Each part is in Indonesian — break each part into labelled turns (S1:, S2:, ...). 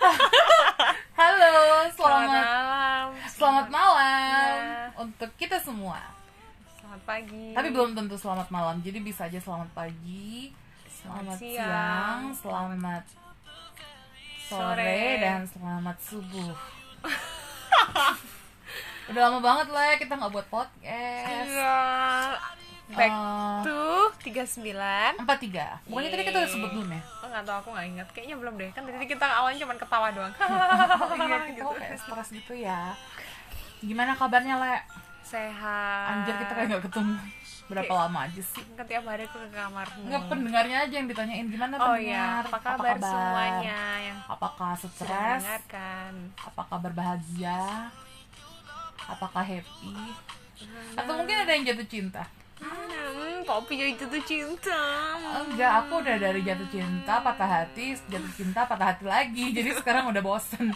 S1: Iya.
S2: ke kita semua.
S1: Selamat pagi.
S2: Tapi belum tentu selamat malam. Jadi bisa aja selamat pagi, selamat, siang, selamat sore,
S1: Sore.
S2: dan selamat subuh. Udah lama banget lah ya kita nggak buat podcast.
S1: Iya. Back
S2: Eh,
S1: to 39.
S2: Empat tiga. Bukannya tadi kita udah sebut belum ya?
S1: Oh, nggak tahu aku nggak ingat. Kayaknya belum deh. Kan tadi kita awalnya cuma ketawa doang.
S2: Iya kita
S1: gitu.
S2: kok kayak stres gitu ya. Gimana kabarnya Le?
S1: Sehat.
S2: Anjir kita kayak nggak ketemu. Berapa
S1: Kayak-
S2: lama aja sih?
S1: Kan tiap hari aku ke kamarmu.
S2: Nggak pendengarnya aja yang ditanyain gimana
S1: Hmm. Oh
S2: pendengar?
S1: iya, apa kabar semuanya yang
S2: Apakah
S1: sudah
S2: stres?
S1: mendengarkan?
S2: Apakah berbahagia? Apakah happy? Atau mungkin ada yang jatuh cinta?
S1: Hmm, Poppy jadi jatuh cinta.
S2: Enggak, aku udah dari jatuh cinta, patah hati, jatuh cinta, patah hati lagi. Jadi sekarang udah bosen.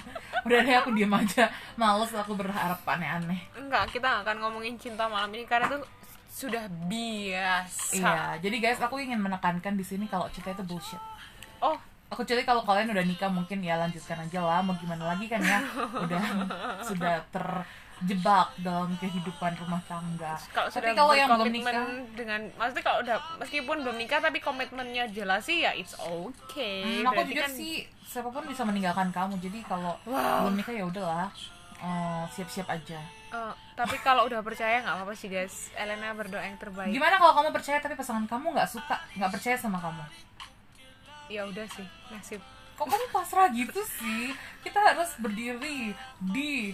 S2: Udah deh aku diem aja. Males aku berharap aneh-aneh.
S1: Enggak, kita nggak akan ngomongin cinta malam ini karena itu sudah biasa.
S2: Iya, jadi guys aku ingin menekankan di sini kalau cinta itu bullshit.
S1: Oh,
S2: Aku jadi kalau kalian udah nikah mungkin ya lanjutkan aja lah, mau gimana lagi kan ya udah sudah terjebak dalam kehidupan rumah tangga.
S1: kalau
S2: Tapi
S1: sudah
S2: kalau yang belum
S1: berkomitmen
S2: nikah,
S1: dengan maksudnya kalau udah meskipun belum nikah tapi komitmennya jelas sih ya it's okay.
S2: hmm, aku
S1: Berarti
S2: jujur
S1: kan-
S2: sih siapapun bisa meninggalkan kamu. Jadi kalau belum nikah ya udahlah eh, siap-siap aja.
S1: Eh, tapi kalau udah percaya nggak apa-apa sih guys. Elena berdoa yang terbaik.
S2: Gimana kalau kamu percaya tapi pasangan kamu nggak suka, nggak percaya sama kamu?
S1: Ya udah sih, nasib.
S2: Kok kamu pasrah gitu sih? Kita harus berdiri di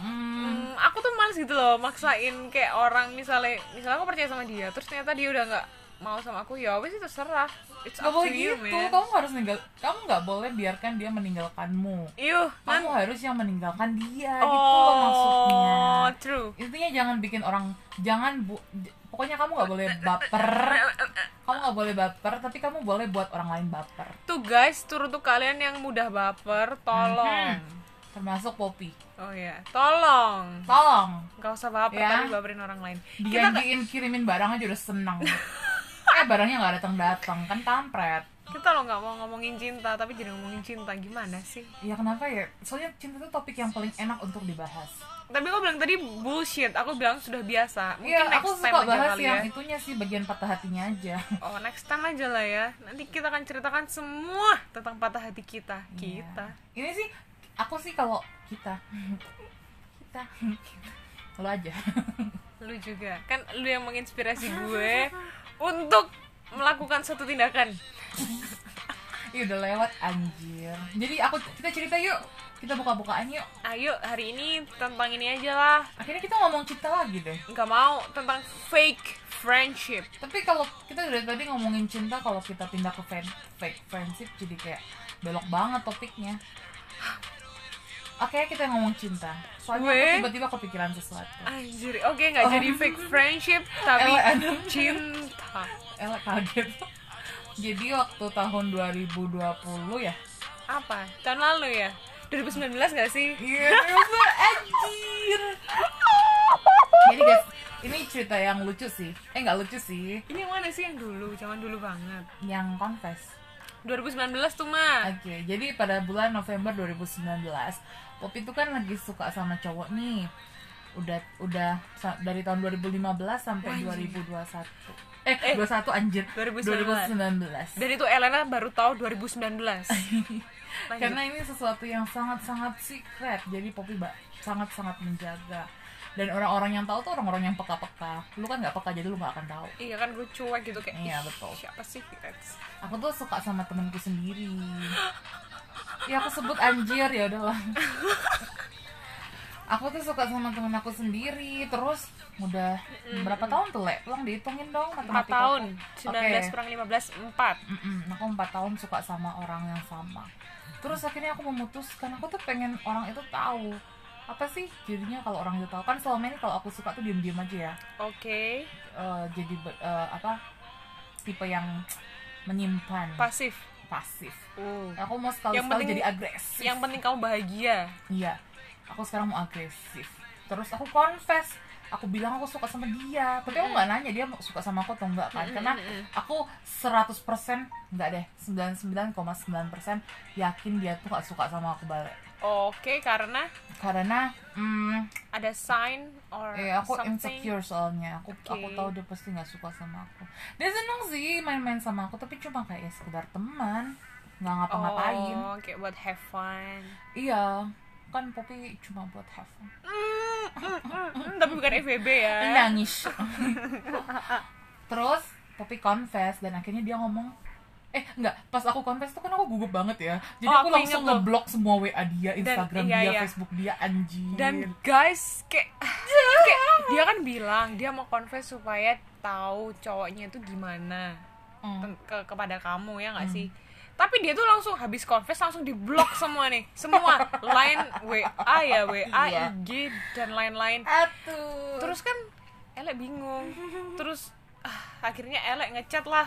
S2: hmm,
S1: Hmm, aku tuh males gitu loh maksain kayak orang misalnya misalnya aku percaya sama dia terus ternyata dia udah nggak mau sama aku ya wes itu terserah. It's
S2: Gak
S1: up
S2: boleh
S1: to
S2: gitu,
S1: you, man.
S2: kamu harus ninggal, kamu nggak boleh biarkan dia meninggalkanmu.
S1: Yuh, man.
S2: Kamu harus yang meninggalkan dia
S1: Oh,
S2: gitu loh maksudnya.
S1: true.
S2: Intinya jangan bikin orang, jangan bu, j- pokoknya kamu nggak boleh baper. Kamu nggak boleh baper, tapi kamu boleh buat orang lain baper.
S1: Tuh guys, turut tuh kalian yang mudah baper, tolong.
S2: Hmm, termasuk Poppy.
S1: Oh ya, tolong.
S2: Tolong,
S1: Gak usah baper,
S2: Ya.
S1: tapi baperin orang lain. Kita nggak-
S2: digantiin kirimin barang aja udah seneng. eh barangnya nggak datang datang kan kampret.
S1: kita loh nggak mau ngomongin cinta, tapi jadi ngomongin cinta gimana sih?
S2: Ya kenapa ya? Soalnya cinta itu topik yang paling enak untuk dibahas.
S1: Tapi kau bilang tadi bullshit. Aku bilang sudah biasa. Mungkin
S2: Iya,
S1: next
S2: aku
S1: time
S2: suka
S1: aja
S2: bahas
S1: kali
S2: yang
S1: ya.
S2: itunya sih bagian patah hatinya aja.
S1: Oh, next time aja lah ya. Nanti kita akan ceritakan semua tentang patah hati kita.
S2: Iya.
S1: Kita.
S2: Ini sih aku sih kalau kita kita lo aja.
S1: Lu juga. Kan lu yang menginspirasi gue untuk melakukan satu tindakan.
S2: Ih udah lewat anjir. Jadi aku kita cerita yuk. Kita buka-bukaan yuk.
S1: Ayo, hari ini tentang ini aja lah.
S2: Akhirnya kita ngomong cinta lagi deh.
S1: nggak mau tentang fake friendship
S2: Tapi kalau kita dari tadi ngomongin cinta kalau kita pindah ke fan, fake friendship jadi kayak belok banget topiknya. Oke, kita ngomong cinta. Soalnya aku
S1: Gue-
S2: tiba-tiba kepikiran sesuatu.
S1: anjir oke nggak
S2: Oh.
S1: jadi fake friendship tapi
S2: Elek, aduh.
S1: cinta
S2: Elek kaget. Jadi waktu tahun 2020 ya?
S1: apa tahun lalu ya 2019 nggak sih
S2: Iya, terus anjir. Jadi guys, ini cerita yang lucu sih. Eh nggak lucu sih,
S1: ini yang mana sih yang dulu zaman dulu banget
S2: yang confess.
S1: 2019 tuh mah
S2: Oke, jadi pada bulan November 2019, Pop itu kan lagi suka sama cowok nih. Udah udah sa- dari tahun 2015 sampai 2021. Eh, 21 anjir.
S1: 2019.
S2: 2019.
S1: dan itu Elena baru tahu 2019 Lanjut.
S2: Karena ini sesuatu yang sangat-sangat secret, jadi Poppy ba- sangat-sangat menjaga. Dan orang-orang yang tahu tuh orang-orang yang peka-peka. Lu kan nggak peka jadi lu nggak akan tahu.
S1: iya kan gue cuek gitu kayak
S2: Iya,
S1: "Ih,
S2: betul.
S1: siapa sih Gitu. That's-
S2: Aku tuh suka sama temenku sendiri. Ya aku sebut anjir ya udahlah. Aku tuh suka sama temen aku sendiri. Terus udah berapa tahun tuh, Le? Tolong dihitungin dong
S1: 4
S2: matematika.
S1: tahun
S2: Oke.
S1: 19 kurang 15 4
S2: Mm-mm, aku empat tahun suka sama orang yang sama terus akhirnya aku memutuskan aku tuh pengen orang itu tahu apa sih jadinya kalau orang itu tahu kan selama ini kalau aku suka tuh diem-diem aja ya
S1: oke
S2: Eh, jadi ber- eh, apa tipe yang menyimpan
S1: pasif
S2: pasif
S1: uh.
S2: aku mau sekali
S1: Yang
S2: sekali
S1: penting-
S2: jadi agresif
S1: yang penting kamu bahagia
S2: iya aku sekarang mau agresif terus aku confess aku bilang aku suka sama dia tapi aku nggak nanya dia mau suka sama aku atau enggak kan karena aku 100% enggak deh 99,9% yakin dia tuh gak suka sama aku balik
S1: oke karena
S2: karena mm,
S1: ada sign or
S2: eh aku
S1: something
S2: insecure soalnya aku aku
S1: Oke.
S2: tahu dia pasti nggak suka sama aku dia seneng sih main-main sama aku tapi cuma kayak ya sekedar teman nggak ngapa-ngapain
S1: oh kayak buat have fun
S2: iya kan Poppy cuma buat have fun
S1: Mm, mm, mm, mm, tapi bukan FBB ya
S2: nangis terus Poppy confess dan akhirnya dia ngomong eh enggak pas aku confess tuh kan aku gugup banget ya jadi
S1: Oh,
S2: aku,
S1: aku
S2: langsung
S1: inget tuh.
S2: ngeblok semua WA dia Instagram
S1: iya,
S2: dia
S1: iya.
S2: Facebook dia anjing
S1: dan guys kayak, kayak dia kan bilang dia mau confess supaya tahu cowoknya itu gimana
S2: Mm.
S1: ten- ke- kepada kamu ya nggak sih tapi dia tuh langsung habis confess langsung diblok semua nih semua line WA ya WA
S2: Iya.
S1: IG dan lain-lain
S2: atuh
S1: terus kan Elek bingung terus ah, akhirnya Elek ngechat lah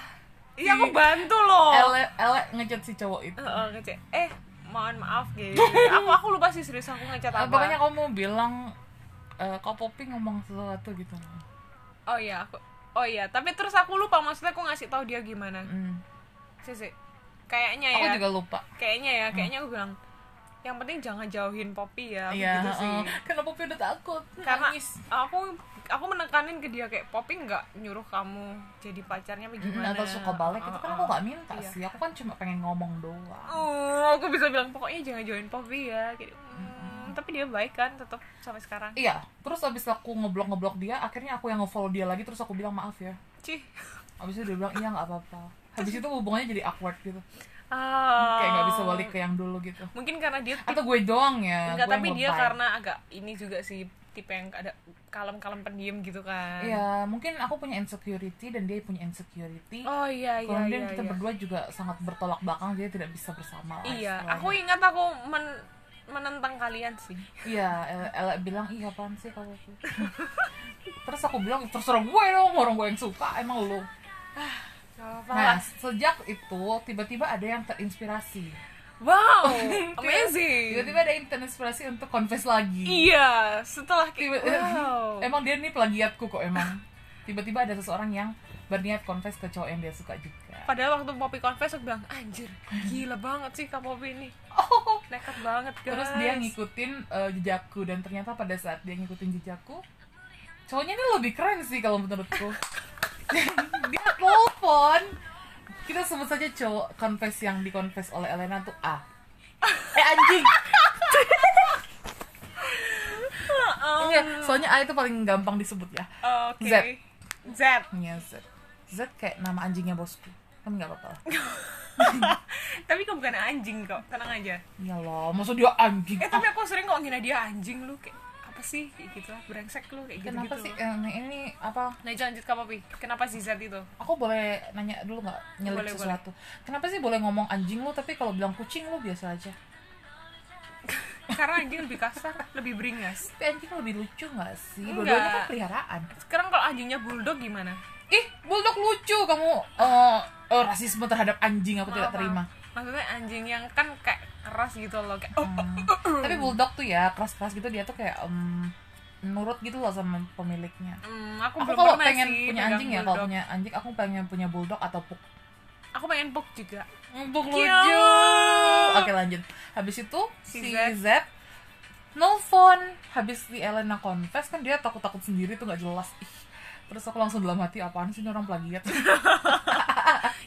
S1: iya
S2: Si
S1: aku bantu loh
S2: ele ele ngechat si cowok itu
S1: Heeh, ngechat eh mohon maaf gitu aku aku lupa sih serius aku ngechat
S2: Eh,
S1: apa
S2: pokoknya kamu mau bilang eh kok Poppy ngomong sesuatu gitu
S1: oh iya aku oh iya tapi terus aku lupa maksudnya aku ngasih tahu dia gimana
S2: Mm.
S1: sih sih kayaknya ya
S2: aku juga lupa
S1: kayaknya ya kayaknya aku bilang yang penting jangan jauhin Poppy ya aku
S2: Iya,
S1: gitu sih
S2: heeh. karena Poppy udah takut
S1: karena
S2: nangis
S1: aku aku menekanin ke dia kayak Poppy nggak nyuruh kamu jadi pacarnya apa
S2: Mm,
S1: gimana
S2: atau suka balik itu kan
S1: Heeh.
S2: aku nggak minta
S1: Iya.
S2: sih aku kan cuma pengen ngomong doang
S1: Oh, aku bisa bilang pokoknya jangan join Poppy ya. Kayak, "Hmm, tapi dia baik kan tetap sampai sekarang.
S2: Iya, terus abis aku ngeblok ngeblok dia, akhirnya aku yang ngefollow dia lagi, terus aku bilang maaf ya.
S1: Cih.
S2: Abis itu dia bilang iya nggak apa-apa. Habis itu hubungannya jadi awkward gitu,
S1: Ah.
S2: kayak nggak bisa balik ke yang dulu gitu.
S1: Mungkin karena dia tipe-
S2: Atau gue doang ya?
S1: enggak,
S2: gue yang
S1: tapi dia
S2: lebay.
S1: karena agak ini juga sih tipe yang ada kalem-kalem pendiam gitu kan.
S2: Iya, mungkin aku punya insecurity dan dia punya insecurity.
S1: Oh iya iya
S2: Kemudian
S1: iya.
S2: kita
S1: iya.
S2: berdua juga sangat bertolak belakang, jadi tidak bisa bersama. lah
S1: Iya,
S2: istilahnya.
S1: aku ingat aku men- menentang kalian sih.
S2: Iya, Ella- Ella bilang iya apaan sih kamu? terus aku bilang "Ya, terserah gue dong, orang gue yang suka, emang lu.
S1: Gak apa-apa
S2: Nah,
S1: lah.
S2: sejak itu tiba-tiba ada yang terinspirasi.
S1: Wow,
S2: Tiba-
S1: amazing.
S2: Tiba-tiba ada yang terinspirasi untuk confess lagi.
S1: Iya, setelah
S2: Tiba-
S1: kayak wow.
S2: emang dia nih plagiatku kok emang. Tiba-tiba ada seseorang yang berniat confess ke cowok yang dia suka juga.
S1: Padahal waktu Poppy confess aku bilang anjir gila banget sih Kak Poppy ini
S2: Oh.
S1: nekat banget guys.
S2: Terus dia ngikutin eh, jejakku dan ternyata pada saat dia ngikutin jejakku, cowoknya ini lebih keren sih kalau menurutku. dia telepon. Kita sebut saja cowok confess yang dikonfes oleh Elena tuh A. Eh anjing. Enggak,
S1: Um,
S2: Iya, soalnya A itu paling gampang disebut ya.
S1: Oh, Oke.
S2: Zed.
S1: Z.
S2: Iya, Z. Z kayak nama anjingnya bosku. Kan nggak apa-apa lah.
S1: Tapi kau bukan anjing kok, tenang aja.
S2: Ya loh, maksud dia anjing.
S1: Eh tapi aku sering kok ngina dia anjing lu kayak apa sih kayak gitu lah, brengsek lu kayak gitu gitu.
S2: Kenapa sih eh, ini apa?
S1: Nah, lanjut Kak Poppy. Kenapa sih Z itu?
S2: Aku boleh nanya dulu nggak nyelip
S1: Boleh,
S2: sesuatu? Kenapa sih boleh ngomong anjing lu tapi kalau bilang kucing lu biasa aja?
S1: Karena anjing lebih kasar, lebih beringas.
S2: Tapi anjing lebih lucu nggak sih?
S1: Nggak.
S2: Dua-duanya kan peliharaan.
S1: Sekarang kalau anjingnya bulldog gimana?
S2: Ih, bulldog lucu kamu. eh eh, rasisme terhadap anjing aku tidak
S1: Maaf,
S2: terima.
S1: maaf. Maksudnya anjing yang kan kayak keras gitu loh kayak oh,
S2: Ah. Tapi bulldog tuh ya keras-keras gitu dia tuh kayak em, nurut gitu loh sama pemiliknya.
S1: hmm, aku,
S2: Aku
S1: belum
S2: kalau
S1: pernah
S2: pengen
S1: sih
S2: punya
S1: pegang
S2: anjing ya, kalau
S1: bulldog.
S2: punya anjing aku pengen punya bulldog atau pug.
S1: Aku pengen pug juga.
S2: Empuk
S1: Cute.
S2: lucu. Oke lanjut. Habis itu si,
S1: Si
S2: Z,
S1: Z.
S2: nelfon. Habis di Elena confess kan dia takut-takut sendiri tuh nggak jelas. Ih. Terus aku langsung dalam hati apaan sih ini orang plagiat.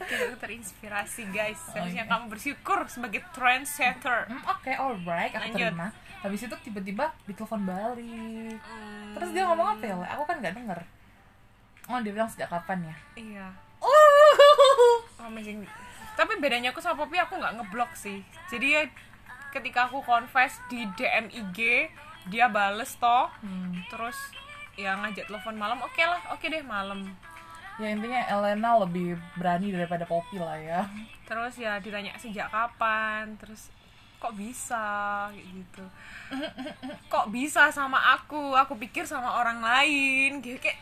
S1: Kita terinspirasi guys. Seharusnya
S2: iya.
S1: kamu bersyukur sebagai trendsetter.
S2: Hmm, Oke, alright, aku
S1: Lanjut.
S2: terima. Habis itu tiba-tiba ditelepon balik.
S1: Hmm,
S2: Terus dia ngomong apa ya? Le? Aku kan nggak denger. Oh, dia bilang sejak kapan ya?
S1: Iya.
S2: Oh,
S1: Amazing. Tapi bedanya aku sama Poppy aku nggak ngeblok sih. Jadi ya, ketika aku confess di DM IG dia bales toh.
S2: Hmm.
S1: Terus ya ngajak telepon malam oke lah oke deh malam
S2: Ya intinya Elena lebih berani daripada Poppy lah ya.
S1: terus ya ditanya sejak kapan terus kok bisa kayak gitu kok bisa sama aku aku pikir sama orang lain gitu kayak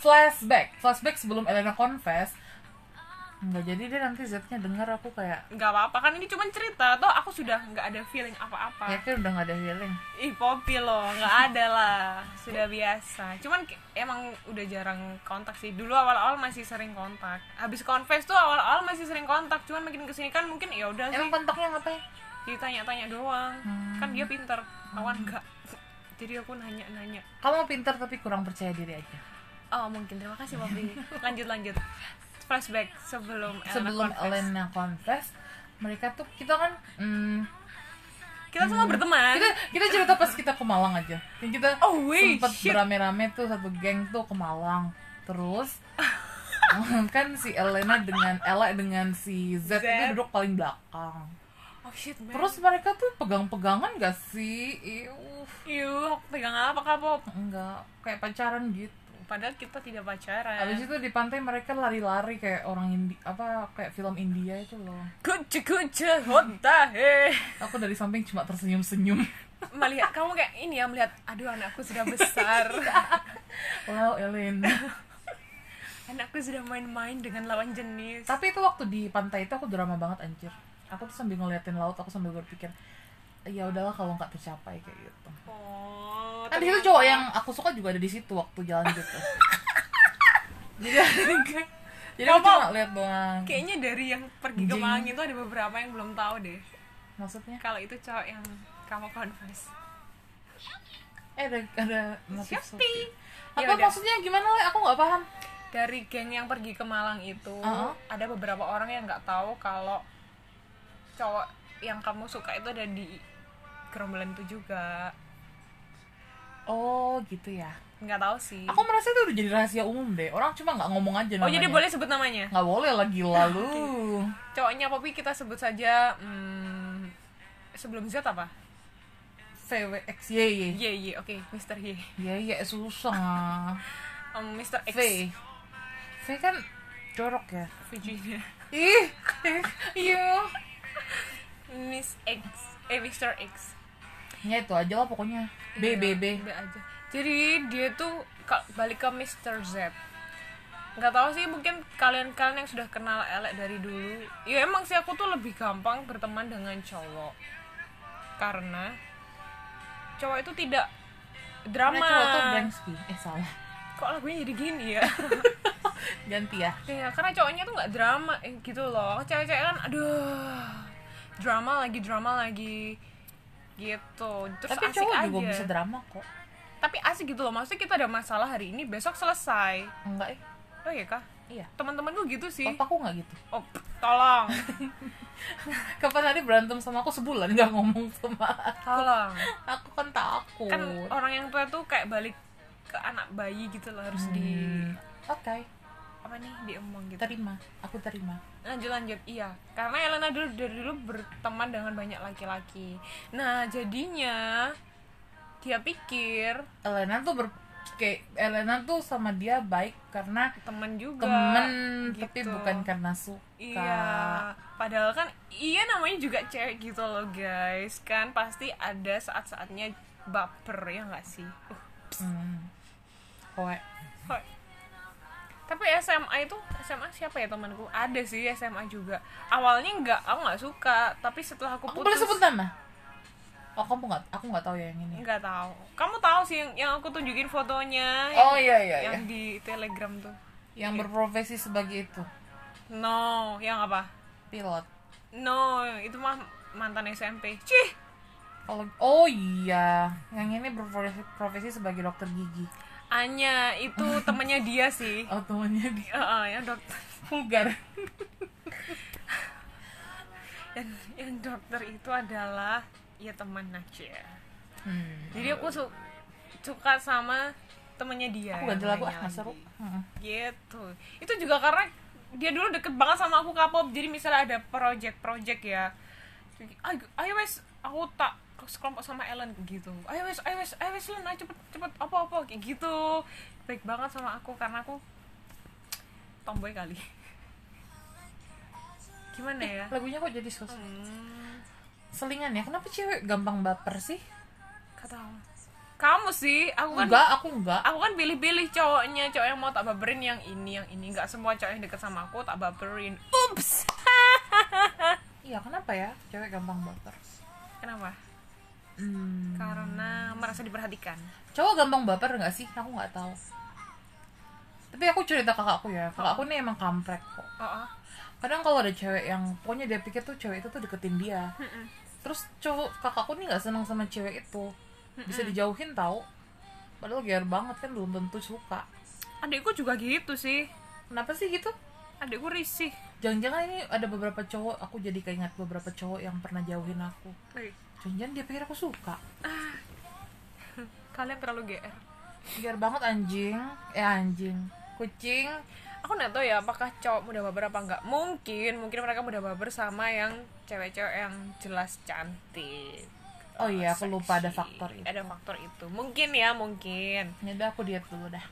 S2: flashback flashback sebelum Elena confess nggak jadi dia nanti Z-nya dengar aku kayak
S1: nggak apa-apa kan ini cuma cerita toh aku sudah nggak ada feeling apa-apa
S2: yakin udah nggak ada healing
S1: Ih Poppy loh, nggak ada lah, sudah biasa. Cuman ke- emang udah jarang kontak sih. Dulu awal-awal masih sering kontak. Habis confess tuh awal-awal masih sering kontak, cuman makin kesini kan mungkin ya udah sih.
S2: emang kontaknya ngapain
S1: ditanya-tanya doang
S2: Hmm.
S1: kan dia pinter awan enggak jadi aku nanya-nanya
S2: Kamu pinter tapi kurang percaya diri aja.
S1: oh mungkin terima kasih Poppy lanjut lanjut flashback sebelum Elena
S2: Sebelum
S1: confess.
S2: Elena confess, mereka tuh kita kan mm,
S1: kita semua berteman
S2: kita kita cerita pas kita ke Malang aja. Yang kita
S1: Kan? oh wait
S2: sempet
S1: shit
S2: berame-rame tuh satu geng tuh ke Malang. Terus kan si Elena dengan Ella dengan si Z, itu
S1: Z.
S2: duduk paling belakang.
S1: oh shit man.
S2: Terus mereka tuh pegang-pegangan gak sih? Iuh,
S1: Yuh, aku pegang apa kak Pop?
S2: enggak kayak pacaran gitu.
S1: Padahal kita tidak pacaran.
S2: Abis itu di pantai mereka lari-lari kayak orang Indi apa kayak film India itu loh.
S1: kucu kucu honda he.
S2: Aku dari samping cuma tersenyum-senyum.
S1: Melihat kamu kayak ini ya melihat, aduh anakku sudah besar,
S2: Wow, Elena.
S1: anakku sudah main-main dengan lawan jenis.
S2: Tapi itu waktu di pantai itu aku drama banget anjir. Aku tuh sambil ngeliatin laut, aku sambil berpikir, ya udahlah kalau nggak tercapai kayak gitu.
S1: Oh,
S2: Kan di situ
S1: ternyata-
S2: cowok yang aku suka juga ada di situ waktu jalan gitu. jadi jadi aku
S1: Kamu-
S2: cuma lihat doang.
S1: Kayaknya dari yang pergi ke
S2: Anjing.
S1: Malang itu ada beberapa yang belum tahu deh.
S2: Maksudnya?
S1: Kalau itu cowok yang kamu confess.
S2: Eh ada ada motif
S1: Shopee.
S2: Apa
S1: Ya udah.
S2: maksudnya gimana le? Aku nggak paham.
S1: Dari geng yang pergi ke Malang itu
S2: Uh-uh.
S1: ada beberapa orang yang nggak tahu kalau cowok yang kamu suka itu ada di gerombolan itu juga.
S2: Oh gitu ya.
S1: Nggak tahu sih.
S2: Aku merasa itu udah jadi rahasia umum deh. Orang cuma nggak ngomong aja
S1: Oh
S2: namanya.
S1: jadi boleh sebut namanya?
S2: Nggak boleh lah gila lu.
S1: Cowoknya Poppy kita sebut saja hmm, sebelum Z apa?
S2: VWXYY.
S1: Y Y oke Mister Y.
S2: Ya ya susah.
S1: Em, Mister X.
S2: V. V kan jorok ya.
S1: Virginia.
S2: Ih. Iya.
S1: Miss X. Eh Mister X.
S2: Ya itu aja lah pokoknya. B B B.
S1: B aja. Jadi dia tuh ka- balik ke Mister Z. Nggak tahu sih mungkin kalian-kalian yang sudah kenal Elek dari dulu. Ya emang sih aku tuh lebih gampang berteman dengan cowok. Karena cowok itu tidak drama.
S2: Karena cowok tuh Bransky. Eh salah.
S1: Kok lagunya jadi gini ya?
S2: Ganti ya.
S1: Iya, karena cowoknya tuh nggak drama eh, gitu loh. Cewek-cewek kan aduh. Drama lagi, drama lagi. Gitu. Terus
S2: Tapi
S1: asik
S2: cowok
S1: aja.
S2: juga bisa drama kok.
S1: Tapi asik gitu loh. Maksudnya kita ada masalah hari ini, besok selesai.
S2: Enggak eh.
S1: Oh iya kah?
S2: Iya.
S1: Teman-temanku gitu sih.
S2: Papaku nggak gitu.
S1: Oh, tolong.
S2: Kapan hari berantem sama aku sebulan nggak ngomong sama aku.
S1: Tolong.
S2: Aku kan takut.
S1: Kan orang yang tua tuh kayak balik ke anak bayi gitu loh harus di
S2: Hmm. Oke,
S1: apa nih diemong gitu.
S2: terima. Aku terima.
S1: lanjut lanjut iya karena Elena dulu dari dulu berteman dengan banyak laki-laki nah jadinya dia pikir
S2: Elena tuh ber kayak Elena tuh sama dia baik karena
S1: teman juga
S2: temen
S1: gitu.
S2: tapi bukan karena suka.
S1: iya padahal kan iya namanya juga cewek gitu loh guys kan pasti ada saat-saatnya baper ya nggak sih Uh,
S2: Hmm. Koe.
S1: hoi. tapi SMA itu SMA siapa ya temanku ada sih SMA juga awalnya nggak aku nggak suka tapi setelah aku
S2: Aku
S1: putus
S2: boleh sebut nama? Oh kamu nggak? Aku nggak tahu ya yang ini.
S1: Nggak tahu. Kamu tahu sih yang, yang aku tunjukin fotonya.
S2: Oh
S1: yang-
S2: iya iya iya.
S1: Yang di Telegram tuh.
S2: Yang
S1: Iya.
S2: berprofesi sebagai itu
S1: No, yang apa?
S2: pilot.
S1: No, itu mah mantan SMP. Cih,
S2: Kalau oh iya, yang ini berprofesi profesi sebagai dokter gigi.
S1: Anya itu temennya dia sih.
S2: Oh temannya dia
S1: Heeh, yang dokter
S2: vulgar.
S1: yang, yang dokter itu adalah ya teman aja.
S2: Hmm.
S1: Jadi aku su- suka sama temennya dia.
S2: Aku
S1: yang
S2: ganti lagu ah
S1: lainnya
S2: nggak
S1: lagi.
S2: seru. Heeh.
S1: gitu itu juga karena dia dulu deket banget sama aku kapop jadi misalnya ada project-project ya Jadi, ayo ayo wes aku tak sekelompok sama Ellen gitu ayo wes ayo wes ayo wes Ellen ayo cepet cepet apa apa kayak gitu baik banget sama aku karena aku tomboy kali gimana ya
S2: Lagunya kok jadi susah.
S1: hmm,
S2: Selingan ya, kenapa cewek gampang baper sih?
S1: gak tahu. kamu sih aku kan
S2: Enggak, aku enggak.
S1: aku kan pilih-pilih cowoknya cowok yang mau tak baperin yang ini yang ini nggak semua cowok yang deket sama aku tak baperin ups
S2: Iya, kenapa ya cewek gampang baper?
S1: kenapa
S2: Hmm.
S1: karena merasa diperhatikan
S2: Cowok gampang baper nggak sih? Aku nggak tahu. Tapi aku cerita kakakku ya, kakakku nih emang kamprek kok.
S1: oh, oh.
S2: Kadang kalau ada cewek yang, pokoknya dia pikir tuh cewek itu tuh deketin dia. terus cowok kakakku nih nggak senang sama cewek itu bisa dijauhin tau padahal gear banget kan belum tentu suka
S1: adikku juga gitu sih
S2: kenapa sih gitu
S1: adikku risih
S2: jangan-jangan ini ada beberapa cowok aku jadi keinget beberapa cowok yang pernah jauhin aku
S1: Wih,
S2: jangan-jangan dia pikir aku suka
S1: kalian terlalu GR
S2: gear banget anjing eh anjing kucing
S1: aku nggak tahu ya apakah cowok mudah baper apa enggak mungkin mungkin mereka mudah baper sama yang cewek-cewek yang jelas cantik
S2: Oh iya, aku
S1: seksi.
S2: lupa ada faktor itu.
S1: ada faktor itu mungkin ya mungkin
S2: ya udah aku diet dulu dah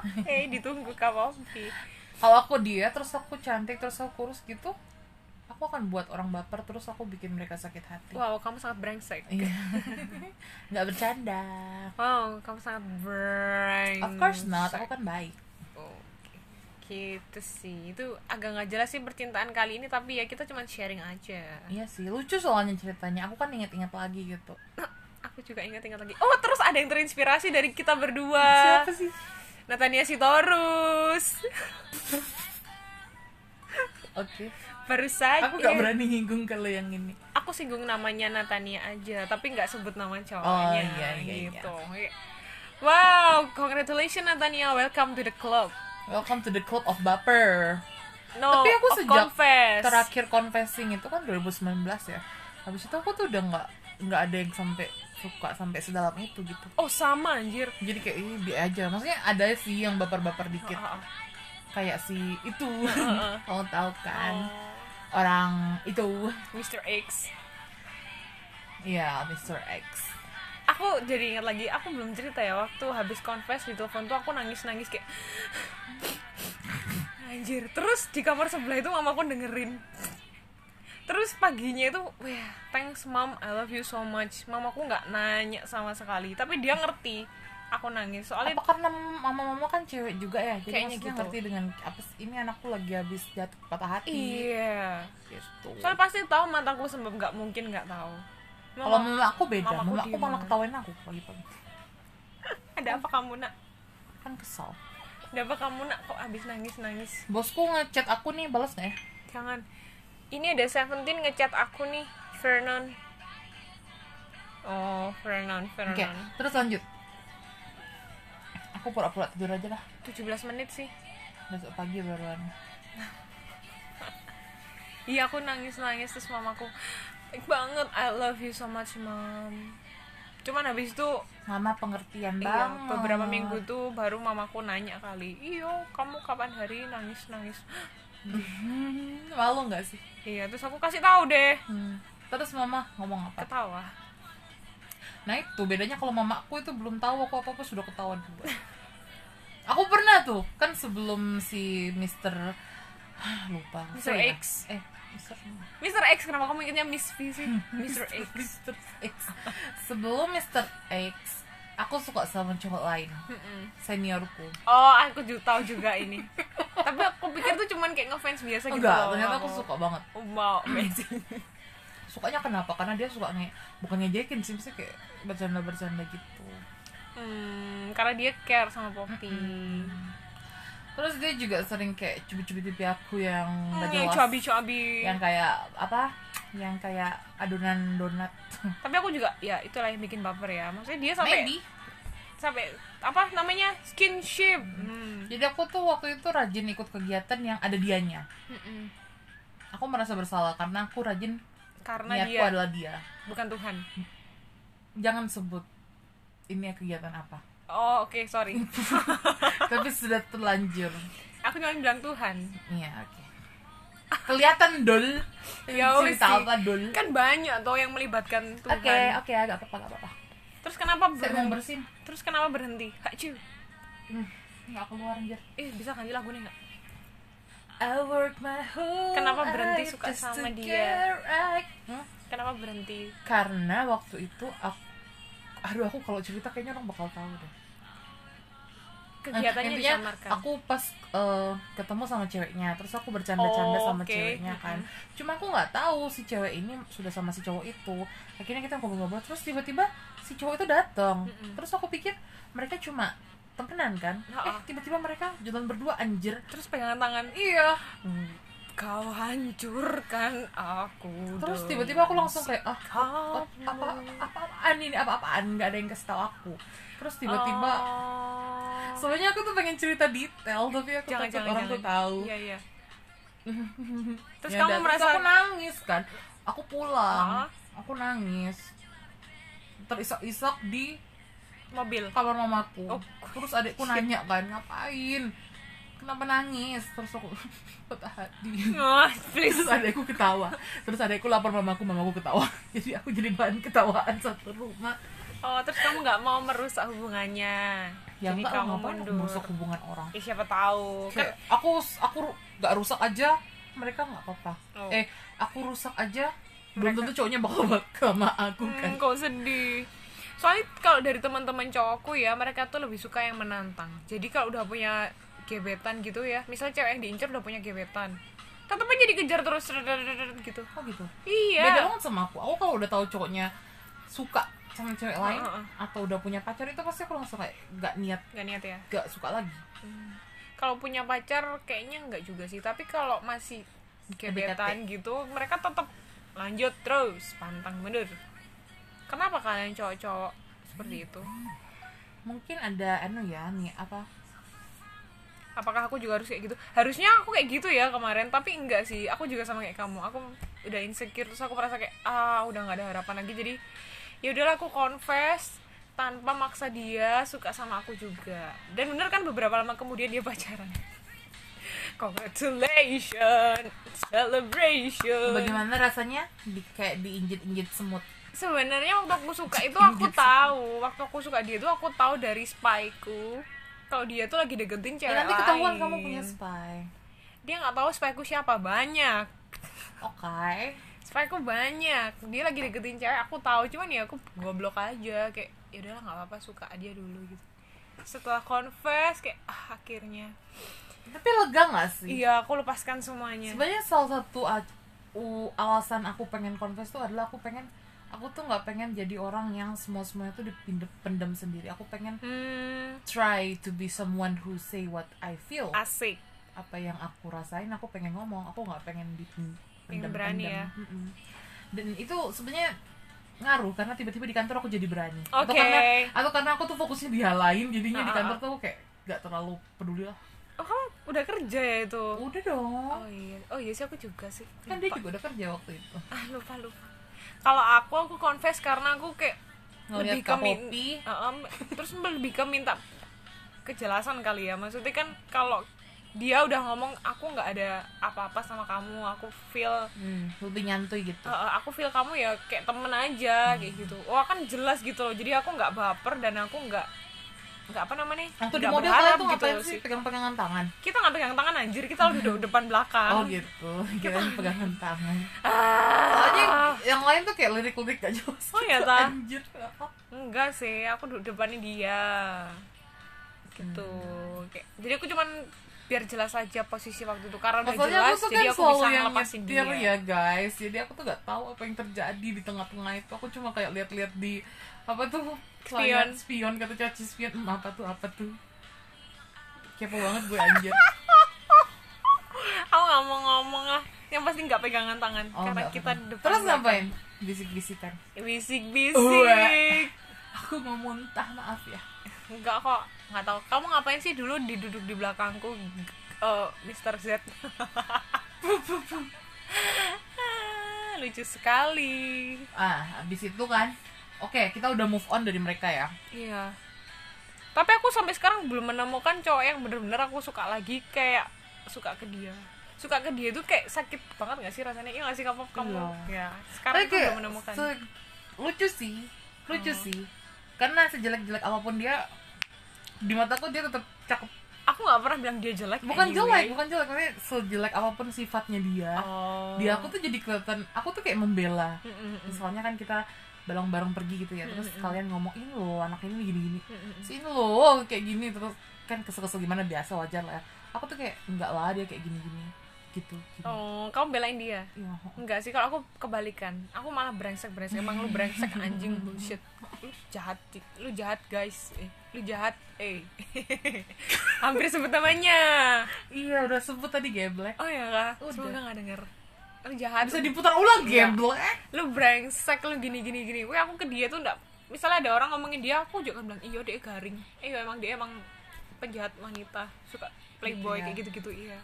S1: oke ditunggu kak Poppy
S2: kalau aku diet terus aku cantik terus aku kurus gitu aku akan buat orang baper terus aku bikin mereka sakit hati
S1: wow kamu sangat brengsek
S2: Iya. nggak bercanda
S1: wow kamu sangat brengsek
S2: of course
S1: Hmm.
S2: not aku kan baik
S1: Oke. gitu sih itu agak nggak jelas sih percintaan kali ini tapi ya kita cuma sharing aja
S2: iya sih lucu soalnya ceritanya aku kan inget-inget lagi gitu
S1: Nah, aku juga ingat-ingat lagi oh terus ada yang terinspirasi dari kita berdua
S2: siapa sih
S1: Natania Sitorus
S2: oke
S1: baru saja
S2: aku nggak berani nyinggung kalau yang ini
S1: Aku singgung namanya Natania aja tapi nggak sebut nama cowoknya
S2: Oh, iya, iya,
S1: gitu wow congratulations Natania welcome to the club
S2: welcome to the club of baper
S1: no
S2: tapi aku
S1: of
S2: sejak
S1: confess.
S2: terakhir confessing itu kan 2019 ya habis itu aku tuh udah nggak nggak ada yang sampai suka sampai sedalam itu gitu
S1: oh sama anjir
S2: jadi kayak ini bi aja maksudnya ada sih yang baper-baper dikit
S1: Ah, ah,
S2: kayak si itu kamu tahu
S1: ah.
S2: kan orang itu
S1: Mr. X
S2: ya Mr X
S1: aku jadi ingat lagi aku belum cerita ya waktu habis confess di telepon tuh aku nangis nangis kayak anjir terus di kamar sebelah itu mamaku dengerin terus paginya itu wah thanks mom I love you so much mamaku nggak nanya sama sekali tapi dia ngerti aku nangis soalnya
S2: apa karena mama-mama kan cewek juga ya jadi
S1: Kayaknya
S2: maksudnya
S1: gitu.
S2: ngerti dengan apa sih, ini anakku lagi habis jatuh patah hati
S1: iya
S2: gitu
S1: soalnya pasti tahu mataku sebab nggak mungkin nggak tahu
S2: kalau
S1: Mama,
S2: mama aku beda
S1: mamaku
S2: mama aku
S1: diem.
S2: malah ketawain aku gitu. pagi-pagi
S1: ada apa kamu nak
S2: kan kesal
S1: ada apa kamu nak kok habis nangis nangis
S2: bosku ngechat aku nih balas nggak
S1: Hmm.
S2: ya
S1: Jangan. Ini ada Seventeen ngechat aku nih, Vernon. Oh, Vernon,
S2: oke
S1: Vernon.
S2: terus lanjut aku pura-pura tidur aja lah
S1: 17 menit sih.
S2: besok pagi baruan
S1: Iya, aku nangis-nangis terus mamaku. Baik banget, I love you so much, Mom. Cuman habis itu
S2: mama pengertian
S1: iya,
S2: banget
S1: beberapa minggu tuh baru mamaku nanya kali, "Iyo, kamu kapan hari nangis-nangis?"
S2: Hmm, malu nggak sih
S1: iya, terus aku kasih tahu deh.
S2: Hmm. Terus mama ngomong apa?
S1: Ketawa.
S2: Nah itu bedanya kalau mamaku itu belum tahu aku apa-apa sudah ketahuan duluan. aku pernah tuh kan sebelum si Mister lupa
S1: Mr.
S2: Sorry,
S1: X.
S2: nah. eh Mister
S1: Mr. X, kenapa kamu ingatnya Miss V sih? Mr. X.
S2: Mister X sebelum Mister X aku suka sama cowok lain
S1: Mm-mm.
S2: seniorku
S1: Oh, aku juga tahu juga ini. Tapi aku pikir tuh cuman kayak ngefans biasa gitu.
S2: enggak
S1: loh,
S2: ternyata aku
S1: mau-
S2: suka banget
S1: Wow, amazing.
S2: sukanya kenapa karena dia suka nge bukan ngejekin sih maksudnya kayak bercanda bercanda gitu
S1: Hmm, karena dia care sama Poppy.
S2: Hmm. terus dia juga sering kayak cubit-cubit pipi aku yang
S1: Hmm,
S2: nggak
S1: yang
S2: jelas.
S1: cobi-cobi.
S2: yang kayak apa yang kayak adonan donat
S1: Tapi aku juga ya itulah yang bikin baper ya. Maksudnya dia sampai sampai apa namanya? skinship. Hmm.
S2: jadi aku tuh waktu itu rajin ikut kegiatan yang ada dianya
S1: Mm-mm.
S2: aku merasa bersalah karena aku rajin
S1: Karena
S2: niatku
S1: dia
S2: adalah dia
S1: bukan Tuhan.
S2: jangan sebut ini ya kegiatan apa
S1: Oh, oke, sorry.
S2: tapi sudah terlanjur
S1: aku cuma bilang Tuhan.
S2: iya oke kelihatan dol
S1: Ya wis sih.
S2: cerita apa dol oke
S1: Kan banyak tuh yang melibatkan Tuhan.
S2: oke agak apa-apa agak apa-apa
S1: Terus kenapa
S2: saya mau
S1: berhenti?
S2: bersin
S1: Terus kenapa berhenti? Hacu.
S2: hmm. nggak keluar anjir
S1: Eh, bisa ganti lagunya nggak?
S2: I work my whole
S1: Kenapa berhenti
S2: life
S1: suka
S2: just to
S1: sama dia?
S2: get right. Hmm?
S1: Kenapa berhenti?
S2: karena waktu itu aku aduh aku kalau cerita kayaknya orang bakal tahu deh
S1: Kegiatannya
S2: Intinya,
S1: disamarkan.
S2: aku pas eh, ketemu sama ceweknya terus aku bercanda-canda
S1: Oh,
S2: sama
S1: oke.
S2: ceweknya kan cuma aku nggak tahu si cewek ini sudah sama si cowok itu akhirnya kita ngobrol-ngobrol terus tiba-tiba si cowok itu datang
S1: Mm-mm.
S2: terus aku pikir mereka cuma temenan kan
S1: Ha-ha.
S2: eh tiba-tiba mereka jalan berdua anjir
S1: Terus pegangan tangan.
S2: iya
S1: Kau hancurkan aku
S2: terus
S1: dong.
S2: tiba-tiba aku langsung kayak ah
S1: Kau
S2: apa apa apaan ini apa apaan nggak ada yang kasih tahu aku terus tiba-tiba
S1: Oh.
S2: sebenarnya aku tuh pengen cerita detail tapi aku
S1: jangan
S2: takut
S1: jangan
S2: orang
S1: jangan.
S2: tuh tahu
S1: Iya iya. Terus
S2: Ya
S1: kamu
S2: udah,
S1: merasa
S2: aku nangis kan aku pulang
S1: Ah.
S2: aku nangis terisak-isak di
S1: mobil.
S2: kamar mamaku
S1: Oh.
S2: terus adikku nanya kan ngapain kenapa nangis terus aku patah hati
S1: Oh, please.
S2: terus adikku ketawa terus adikku lapor mamaku mamaku ketawa jadi aku jadi bahan ketawaan satu rumah
S1: Oh, terus kamu nggak mau merusak hubungannya.
S2: yang Ya
S1: Jadi
S2: enggak
S1: kamu
S2: ngapain aku
S1: mundur.
S2: merusak hubungan orang
S1: Ih, siapa tahu. Kan
S2: Kayak aku aku ru- nggak rusak aja mereka nggak apa-apa
S1: Oh.
S2: eh aku rusak aja belum tentu cowoknya bakal bakal sama aku kan
S1: Hmm, kok sedih. Soalnya kalau dari teman-teman cowokku ya, mereka tuh lebih suka yang menantang. Jadi kalau udah punya gebetan gitu ya, misalnya cewek yang diincar udah punya gebetan, tetap aja dikejar terus gitu.
S2: oh gitu beda
S1: Iya.
S2: banget sama aku aku kalau udah tahu cowoknya suka sama cewek lain
S1: Heeh.
S2: atau udah punya pacar itu pasti aku langsung kayak nggak niat
S1: Gak niat ya.
S2: nggak suka lagi
S1: Kalau punya pacar kayaknya nggak juga sih, tapi kalau masih gebetan gitu, mereka tetap lanjut terus, pantang bener. Kenapa kalian cowok-cowok seperti itu?
S2: mungkin ada anu ya nih apa
S1: apakah aku juga harus kayak gitu harusnya aku kayak gitu ya kemarin tapi enggak sih aku juga sama kayak kamu aku udah insecure terus aku merasa kayak ah udah nggak ada harapan lagi jadi ya udahlah aku confess tanpa maksa dia suka sama aku juga dan bener kan beberapa lama kemudian dia pacaran congratulations celebration
S2: bagaimana rasanya di, kayak diinjit-injit semut
S1: sebenarnya waktu aku suka itu aku tahu waktu aku suka dia itu aku tahu dari spy ku kalau dia tuh lagi deketin cewek
S2: ya, nanti ketahuan kamu
S1: lain.
S2: punya spy
S1: dia nggak tahu spikeku siapa banyak
S2: oke
S1: spikeku banyak dia lagi deketin cewek aku tahu cuman ya aku goblok aja kayak ya udahlah nggak apa-apa suka dia dulu gitu setelah confess kayak ah, akhirnya
S2: tapi lega nggak sih
S1: iya aku lepaskan semuanya
S2: sebenarnya salah satu a- u- alasan aku pengen confess tuh adalah aku pengen aku tuh nggak pengen jadi orang yang semua semuanya tuh dipendem pendem sendiri aku pengen
S1: hmm
S2: try to be someone who say what I feel
S1: asik
S2: apa yang aku rasain aku pengen ngomong aku nggak pengen dipendam
S1: Pengen berani ya.
S2: Mm-mm. dan itu sebenarnya ngaruh karena tiba-tiba di kantor aku jadi berani atau
S1: Oke.
S2: karena atau karena aku tuh fokusnya di hal lain jadinya di
S1: Ah, ah,
S2: kantor tuh aku kayak nggak terlalu peduli lah
S1: oh kamu udah kerja ya itu
S2: udah dong
S1: oh iya oh iya sih aku juga sih
S2: kan dia
S1: Lupa.
S2: juga udah kerja waktu itu
S1: ah lupa lupa kalau aku aku confess karena aku kayak
S2: Ngeliat
S1: lebih ke
S2: Kak
S1: min-
S2: Poppy.
S1: Heeh, terus lebih ke minta kejelasan kali ya maksudnya kan kalau dia udah ngomong aku nggak ada apa-apa sama kamu aku feel
S2: hmm, lebih nyantuy gitu
S1: Heeh, aku feel kamu ya kayak temen aja kayak gitu wah kan jelas gitu loh jadi aku nggak baper dan aku nggak nggak apa namanya
S2: Waktu di
S1: nggak
S2: mobil
S1: berharap gitu
S2: kalian tuh ngapain
S1: loh
S2: sih pegang-pegangan tangan?
S1: kita nggak pegang tangan anjir kita udah duduk depan belakang
S2: Oh gitu, kirain pegangan tangan
S1: Ah.
S2: Soalnya yang lain tuh kayak lirik-lirik gak jelas
S1: Oh, iya,
S2: gitu,
S1: Ta?
S2: Anjir
S1: enggak sih aku duduk depannya dia gitu Kayak- jadi aku cuman biar jelas aja posisi waktu itu karena udah
S2: Masalahnya
S1: jelas
S2: aku tuh kan
S1: jadi aku
S2: selalu
S1: bisa
S2: yang
S1: ngelepasin dia
S2: nyetir ya guys Jadi aku tuh gak tahu apa yang terjadi di tengah-tengah itu Aku cuma kayak lihat-lihat di Apa tuh?
S1: Spion.
S2: Layar Spion, kata caci spion Hmm, Apa tuh, apa tuh Kepo banget gue anjir
S1: aku nggak mau ngomong lah yang pasti nggak pegangan tangan
S2: Oh,
S1: karena
S2: nggak
S1: kita
S2: apa-apa.
S1: depan
S2: Terus
S1: belakang.
S2: ngapain? Bisik-bisikan
S1: bisik bisik
S2: Uwe. Aku mau muntah, maaf ya
S1: enggak kok nggak tahu kamu ngapain sih dulu diduduk di belakangku eh Mr Z Ah, lucu sekali
S2: Ah, habis itu kan Oke, kita udah move on dari mereka ya
S1: Iya. Tapi aku sampai sekarang belum menemukan cowok yang bener-bener aku suka lagi kayak suka ke dia. Suka ke dia itu kayak sakit banget gak sih rasanya? Iya gak sih kamu? kamu? Ya. Sekarang
S2: Tapi
S1: aku
S2: kayak
S1: belum menemukan. Hmm.
S2: se- lucu sih lucu sih karena sejelek-jelek apapun dia di mataku dia tetap cakep
S1: Aku gak pernah bilang dia jelek. gitu,
S2: bukan
S1: anyway.
S2: jelek bukan jelek tapi sejelek apapun sifatnya dia
S1: Oh. Hmm,
S2: dia aku tuh jadi kelihatan aku tuh kayak membela
S1: Mm-mm.
S2: misalnya kan kita bareng-bareng pergi gitu
S1: Hmm,
S2: ya terus kalian ngomong ini loh anak ini gini-gini
S1: Mm-mm.
S2: si ini loh kayak gini terus kan kesel-kesel gimana biasa wajar lah ya. aku tuh kayak enggak lah dia kayak gini-gini gitu. gitu.
S1: Oh, kamu belain dia?
S2: Iya.
S1: Enggak sih, kalau aku kebalikan. Aku malah brengsek-brengsek. Emang lu brengsek anjing bullshit. Lu jahat, Cik. lu jahat guys. Eh, lu jahat. Eh. Hampir sebut namanya.
S2: Iya, udah sebut tadi geblek.
S1: Oh ya kah?
S2: Udah.
S1: Semoga nggak denger. Lu jahat.
S2: Bisa diputar ulang
S1: Iya.
S2: geblek.
S1: lu brengsek lu gini gini gini weh aku ke dia tuh enggak misalnya ada orang ngomongin dia aku juga akan bilang iya dia garing iya emang dia emang penjahat wanita suka playboy
S2: Iya.
S1: kayak gitu gitu iya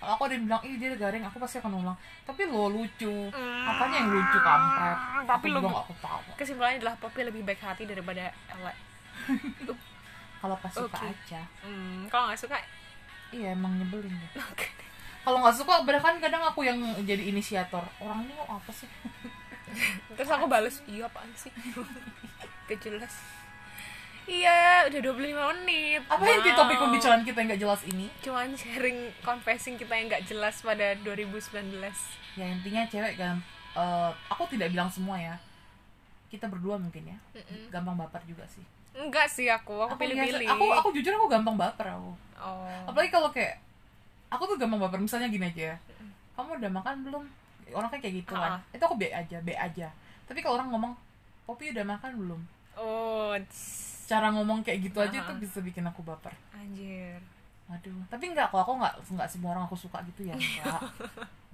S2: Kalau aku ada yang bilang, ih dia garing, aku pasti akan ulang. Tapi lo lucu. Apanya yang lucu kampret?
S1: Mm, Tapi
S2: Aku
S1: lo-
S2: juga gak ketawa.
S1: kesimpulannya adalah Poppy lebih baik hati daripada elek
S2: Kalau pas suka
S1: Oke.
S2: aja.
S1: hmm, kalau nggak suka
S2: Iya, emang nyebelin ya. Kalau nggak suka, bahkan kadang aku yang jadi inisiator. Orang ini kok apa sih?
S1: terus aku bales iya apaan sih gak jelas iya udah 25 menit
S2: Apa yang di
S1: Wow.
S2: topik pembicaraan kita yang nggak jelas ini?
S1: cuman sharing confessing kita yang nggak jelas pada 2019
S2: Ya intinya cewek kan, eh, aku tidak bilang semua ya. Kita berdua mungkin ya. Gampang baper juga sih.
S1: Enggak sih aku, aku
S2: biasa-
S1: pilih-pilih.
S2: Aku, aku jujur aku gampang baper aku.
S1: Oh.
S2: Apalagi kalau kayak aku tuh gampang baper. Misalnya gini aja. ya, Kamu udah makan belum? Orang kan kayak gitu kan. Itu aku be aja, be aja. Tapi kalau orang ngomong, Popi udah makan belum?
S1: Oh, tss.
S2: Cara ngomong kayak gitu aja
S1: Ah.
S2: itu bisa bikin aku baper.
S1: anjir.
S2: Aduh, tapi enggak kok aku enggak enggak semua orang aku suka gitu ya, enggak.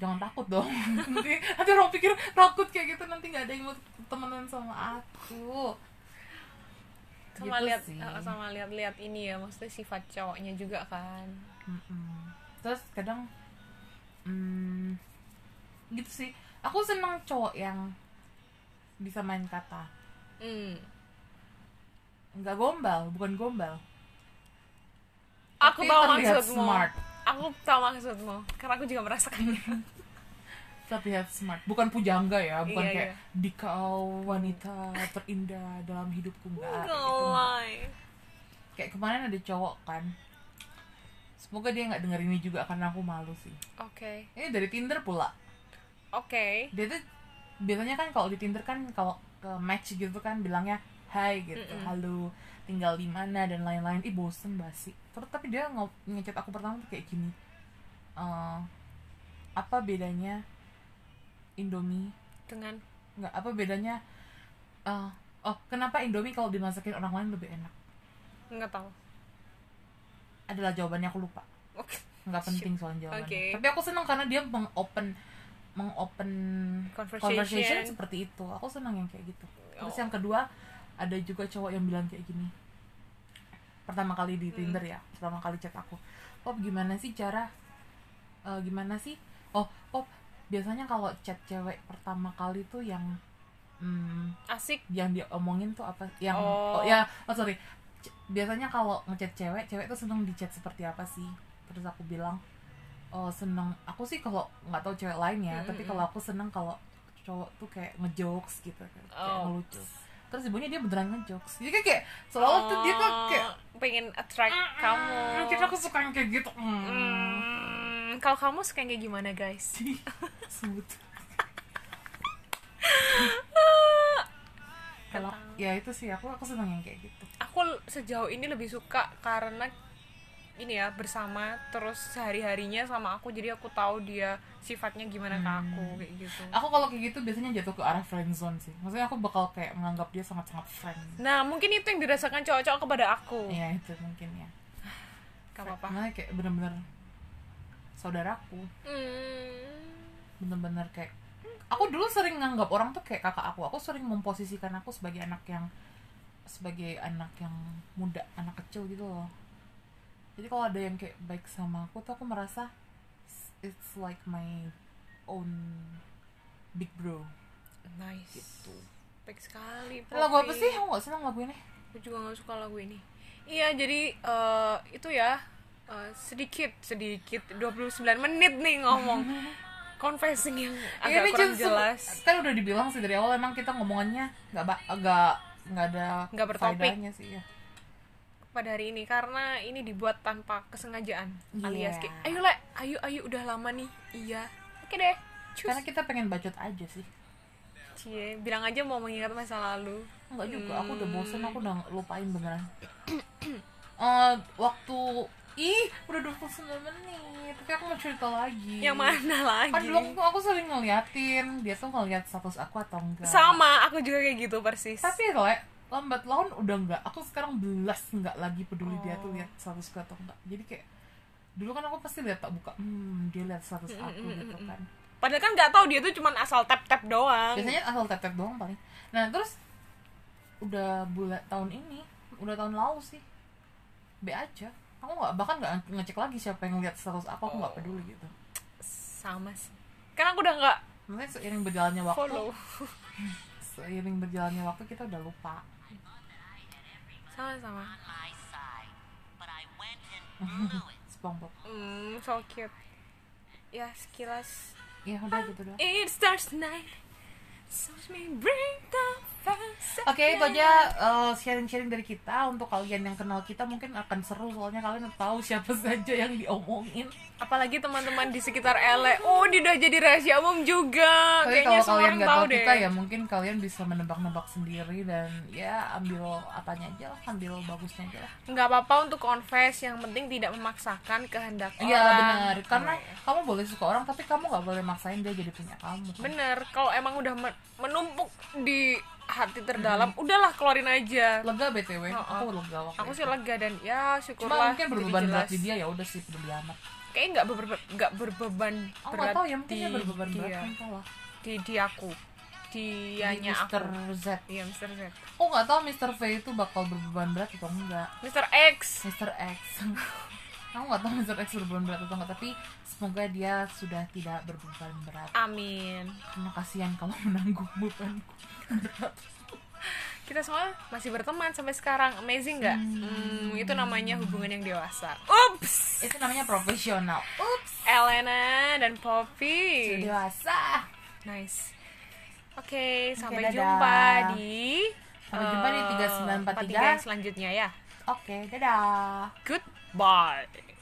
S2: Jangan takut dong. nanti, nanti orang pikir takut kayak gitu nanti nggak ada yang mau temenan sama aku.
S1: Sama
S2: Gitu
S1: lihat
S2: sih.
S1: eh, sama lihat-lihat ini ya, maksudnya sifat cowoknya juga kan.
S2: Mm-mm. Terus kadang mm, gitu sih. Aku seneng cowok yang bisa main kata.
S1: Hmm.
S2: Enggak gombal, bukan gombal.
S1: Aku
S2: Tapi
S1: tahu
S2: terlihat
S1: maksudmu.
S2: smart.
S1: Aku tahu maksudmu, karena aku juga merasakannya.
S2: terlihat smart bukan pujangga ya bukan
S1: Iya,
S2: kayak
S1: iya.
S2: dikau wanita terindah dalam hidupku enggak kayak gitu, enggak.
S1: Gawai.
S2: kayak kemarin ada cowok kan semoga dia nggak denger ini juga karena aku malu sih
S1: Oke.
S2: ini dari tinder pula
S1: Oke.
S2: dia tuh biasanya kan kalau di tinder kan kalau ke match gitu kan bilangnya hai gitu
S1: Mm-mm.
S2: halo tinggal di mana dan lain-lain ih bosen basi terus tapi dia ngo- ngechat aku pertama tuh kayak gini Eh, apa bedanya Indomie
S1: Dengan
S2: nggak apa bedanya eh, oh kenapa indomie kalau dimasakin orang lain lebih enak
S1: enggak tahu.
S2: adalah jawabannya aku lupa
S1: Oke.
S2: nggak penting soal jawabannya
S1: Oke.
S2: tapi aku senang karena dia mengopen mengopen
S1: Conversation.
S2: conversation seperti itu aku senang yang kayak gitu terus
S1: Oh.
S2: yang kedua ada juga cowok yang bilang kayak gini pertama kali di Tinder ya pertama kali chat aku Pop gimana sih cara eh, gimana sih oh Pop biasanya kalau chat cewek pertama kali tuh yang hmm,
S1: Asik.
S2: yang dia omongin tuh apa yang oh,
S1: Oh.
S2: ya oh sorry C- biasanya kalau ngechat cewek cewek tuh seneng dicat seperti apa sih terus aku bilang oh seneng aku sih kalau nggak tahu cewek lain ya
S1: Mm,
S2: tapi
S1: mm,
S2: kalau aku seneng kalau cowok tuh kayak ngejokes gitu kayak
S1: Oh.
S2: ngelucu terus ibunya dia beneran ngejokes jadi kayak, kayak selalu tuh dia tuh kayak
S1: Oh, pengen attract kamu.
S2: mungkin aku suka yang kayak gitu mm.
S1: Hmm, kalau kamu suka yang kayak gimana, guys?
S2: Sebut. kalau ya itu sih aku aku seneng yang kayak gitu
S1: aku l- sejauh ini lebih suka karena ini ya bersama terus sehari harinya sama aku jadi aku tahu dia sifatnya gimana
S2: Hmm.
S1: ke aku kayak gitu
S2: aku kalau kayak gitu biasanya jatuh ke arah friend zone sih maksudnya aku bakal kayak menganggap dia sangat sangat friend
S1: nah mungkin itu yang dirasakan cowok-cowok kepada aku
S2: ya itu mungkin ya
S1: gak apa-apa
S2: karena kayak bener-bener saudaraku
S1: Hmm.
S2: bener-bener kayak aku dulu sering nganggap orang tuh kayak kakak aku aku sering memposisikan aku sebagai anak yang sebagai anak yang muda anak kecil gitu loh jadi kalau ada yang kayak baik sama aku tuh aku merasa it's like my own big bro
S1: nice
S2: Gitu.
S1: baik sekali
S2: lagu apa
S1: Poppy.
S2: sih aku gak seneng lagu ini
S1: aku juga nggak suka lagu ini iya jadi eh, itu ya eh, sedikit sedikit 29 menit nih ngomong confessing yang
S2: Iya,
S1: agak kurang
S2: Jun, se-
S1: jelas
S2: Kan udah dibilang sih dari awal emang kita ngomongannya nggak ba- agak nggak ada
S1: Nggak bertopik.
S2: faedahnya sih ya.
S1: pada hari ini karena ini dibuat tanpa kesengajaan
S2: Iya.
S1: alias kayak ayo le ayo ayo udah lama nih iya oke deh cus
S2: Karena kita pengen bacot aja sih.
S1: Cie, bilang aja mau mengingat masa lalu
S2: Enggak juga, aku udah bosen, aku udah lupain beneran. Eh, waktu Ih, udah 29 menit. Tapi aku mau cerita lagi.
S1: Yang mana lagi?
S2: Kan dulu Iya. aku, aku sering ngeliatin. Dia tuh ngeliat status aku atau enggak.
S1: Sama, aku juga kayak gitu persis.
S2: Tapi le, lambat laun udah enggak. Aku sekarang belas enggak lagi peduli dia tuh lihat status aku atau enggak. Jadi kayak dulu kan aku pasti lihat tak buka. Hmm, dia lihat status aku gitu kan.
S1: Padahal kan nggak tahu dia tuh cuman asal tap tap doang.
S2: Biasanya asal tap-tap doang paling. Nah, terus udah bulan tahun ini, udah tahun lalu sih. B aja. Aku nggak bahkan nggak ngecek lagi siapa yang ngeliat status aku, aku nggak peduli gitu.
S1: Sama sih. Karena aku udah nggak
S2: Mungkin seiring berjalannya waktu,
S1: follow.
S2: seiring berjalannya waktu kita udah lupa.
S1: Sama sama.
S3: my side, but I went and blew it.
S2: SpongeBob.
S1: Hmm, so cute. Ya sekilas.
S2: Ya udah gitu doang.
S1: It starts night. So me bring the fire.
S2: Oke, itu aja uh, sharing-sharing dari kita untuk kalian yang kenal kita mungkin akan seru soalnya kalian tahu siapa saja yang diomongin.
S1: Apalagi teman-teman di sekitar LA. Oh, dia udah jadi rahasia umum juga.
S2: Tapi
S1: Kayaknya
S2: kalau
S1: semua
S2: kalian
S1: orang
S2: nggak
S1: tahu
S2: tahu
S1: deh.
S2: kita ya mungkin kalian bisa menebak-nebak sendiri dan ya ambil apanya aja lah, ambil bagusnya aja lah.
S1: nggak apa-apa untuk confess yang penting tidak memaksakan kehendak
S2: Iya
S1: orang
S2: benar, karena
S1: iya.
S2: kamu boleh suka orang tapi kamu nggak boleh maksain dia jadi punya kamu.
S1: bener kalau emang udah men- menumpuk di hati terdalam udahlah keluarin aja
S2: Lega btw,
S1: Oh, oh.
S2: aku lega waktu.
S1: aku
S2: itu.
S1: sih lega dan ya
S2: Cuma
S1: syukurlah
S2: mungkin
S1: jadi
S2: berbeban berat
S1: jelas.
S2: di dia ya udah sih peduli amat.
S1: kayaknya nggak berbe- nggak berbeban
S2: Aku
S1: berat
S2: nggak tahu ya mungkin
S1: di
S2: dia berbeban berat
S1: dia.
S2: kan tau lah.
S1: di, di aku dianya
S2: Di
S1: aku
S2: Mr. Z.
S1: iya Mr. Z
S2: Aku nggak tahu Mr. V itu bakal berbeban berat atau enggak.
S1: Mr. X
S2: Mr. X Aku nggak tahu Mr. X berbeban berat atau enggak Tapi semoga dia sudah tidak berbeban berat
S1: amin
S2: Karena kasihan kalau menanggung bebanku berat
S1: kita semua masih berteman sampai sekarang amazing nggak Hmm, itu namanya hubungan yang dewasa ups
S2: Itu namanya profesional Uh, Ups
S1: Elena dan Poppy
S2: Dewasa
S1: Nice. Oke, sampai
S2: dadah.
S1: jumpa di
S2: Sampai jumpa di
S1: eh,
S2: 3943.
S1: selanjutnya ya.
S2: Oke, dadah
S1: Goodbye.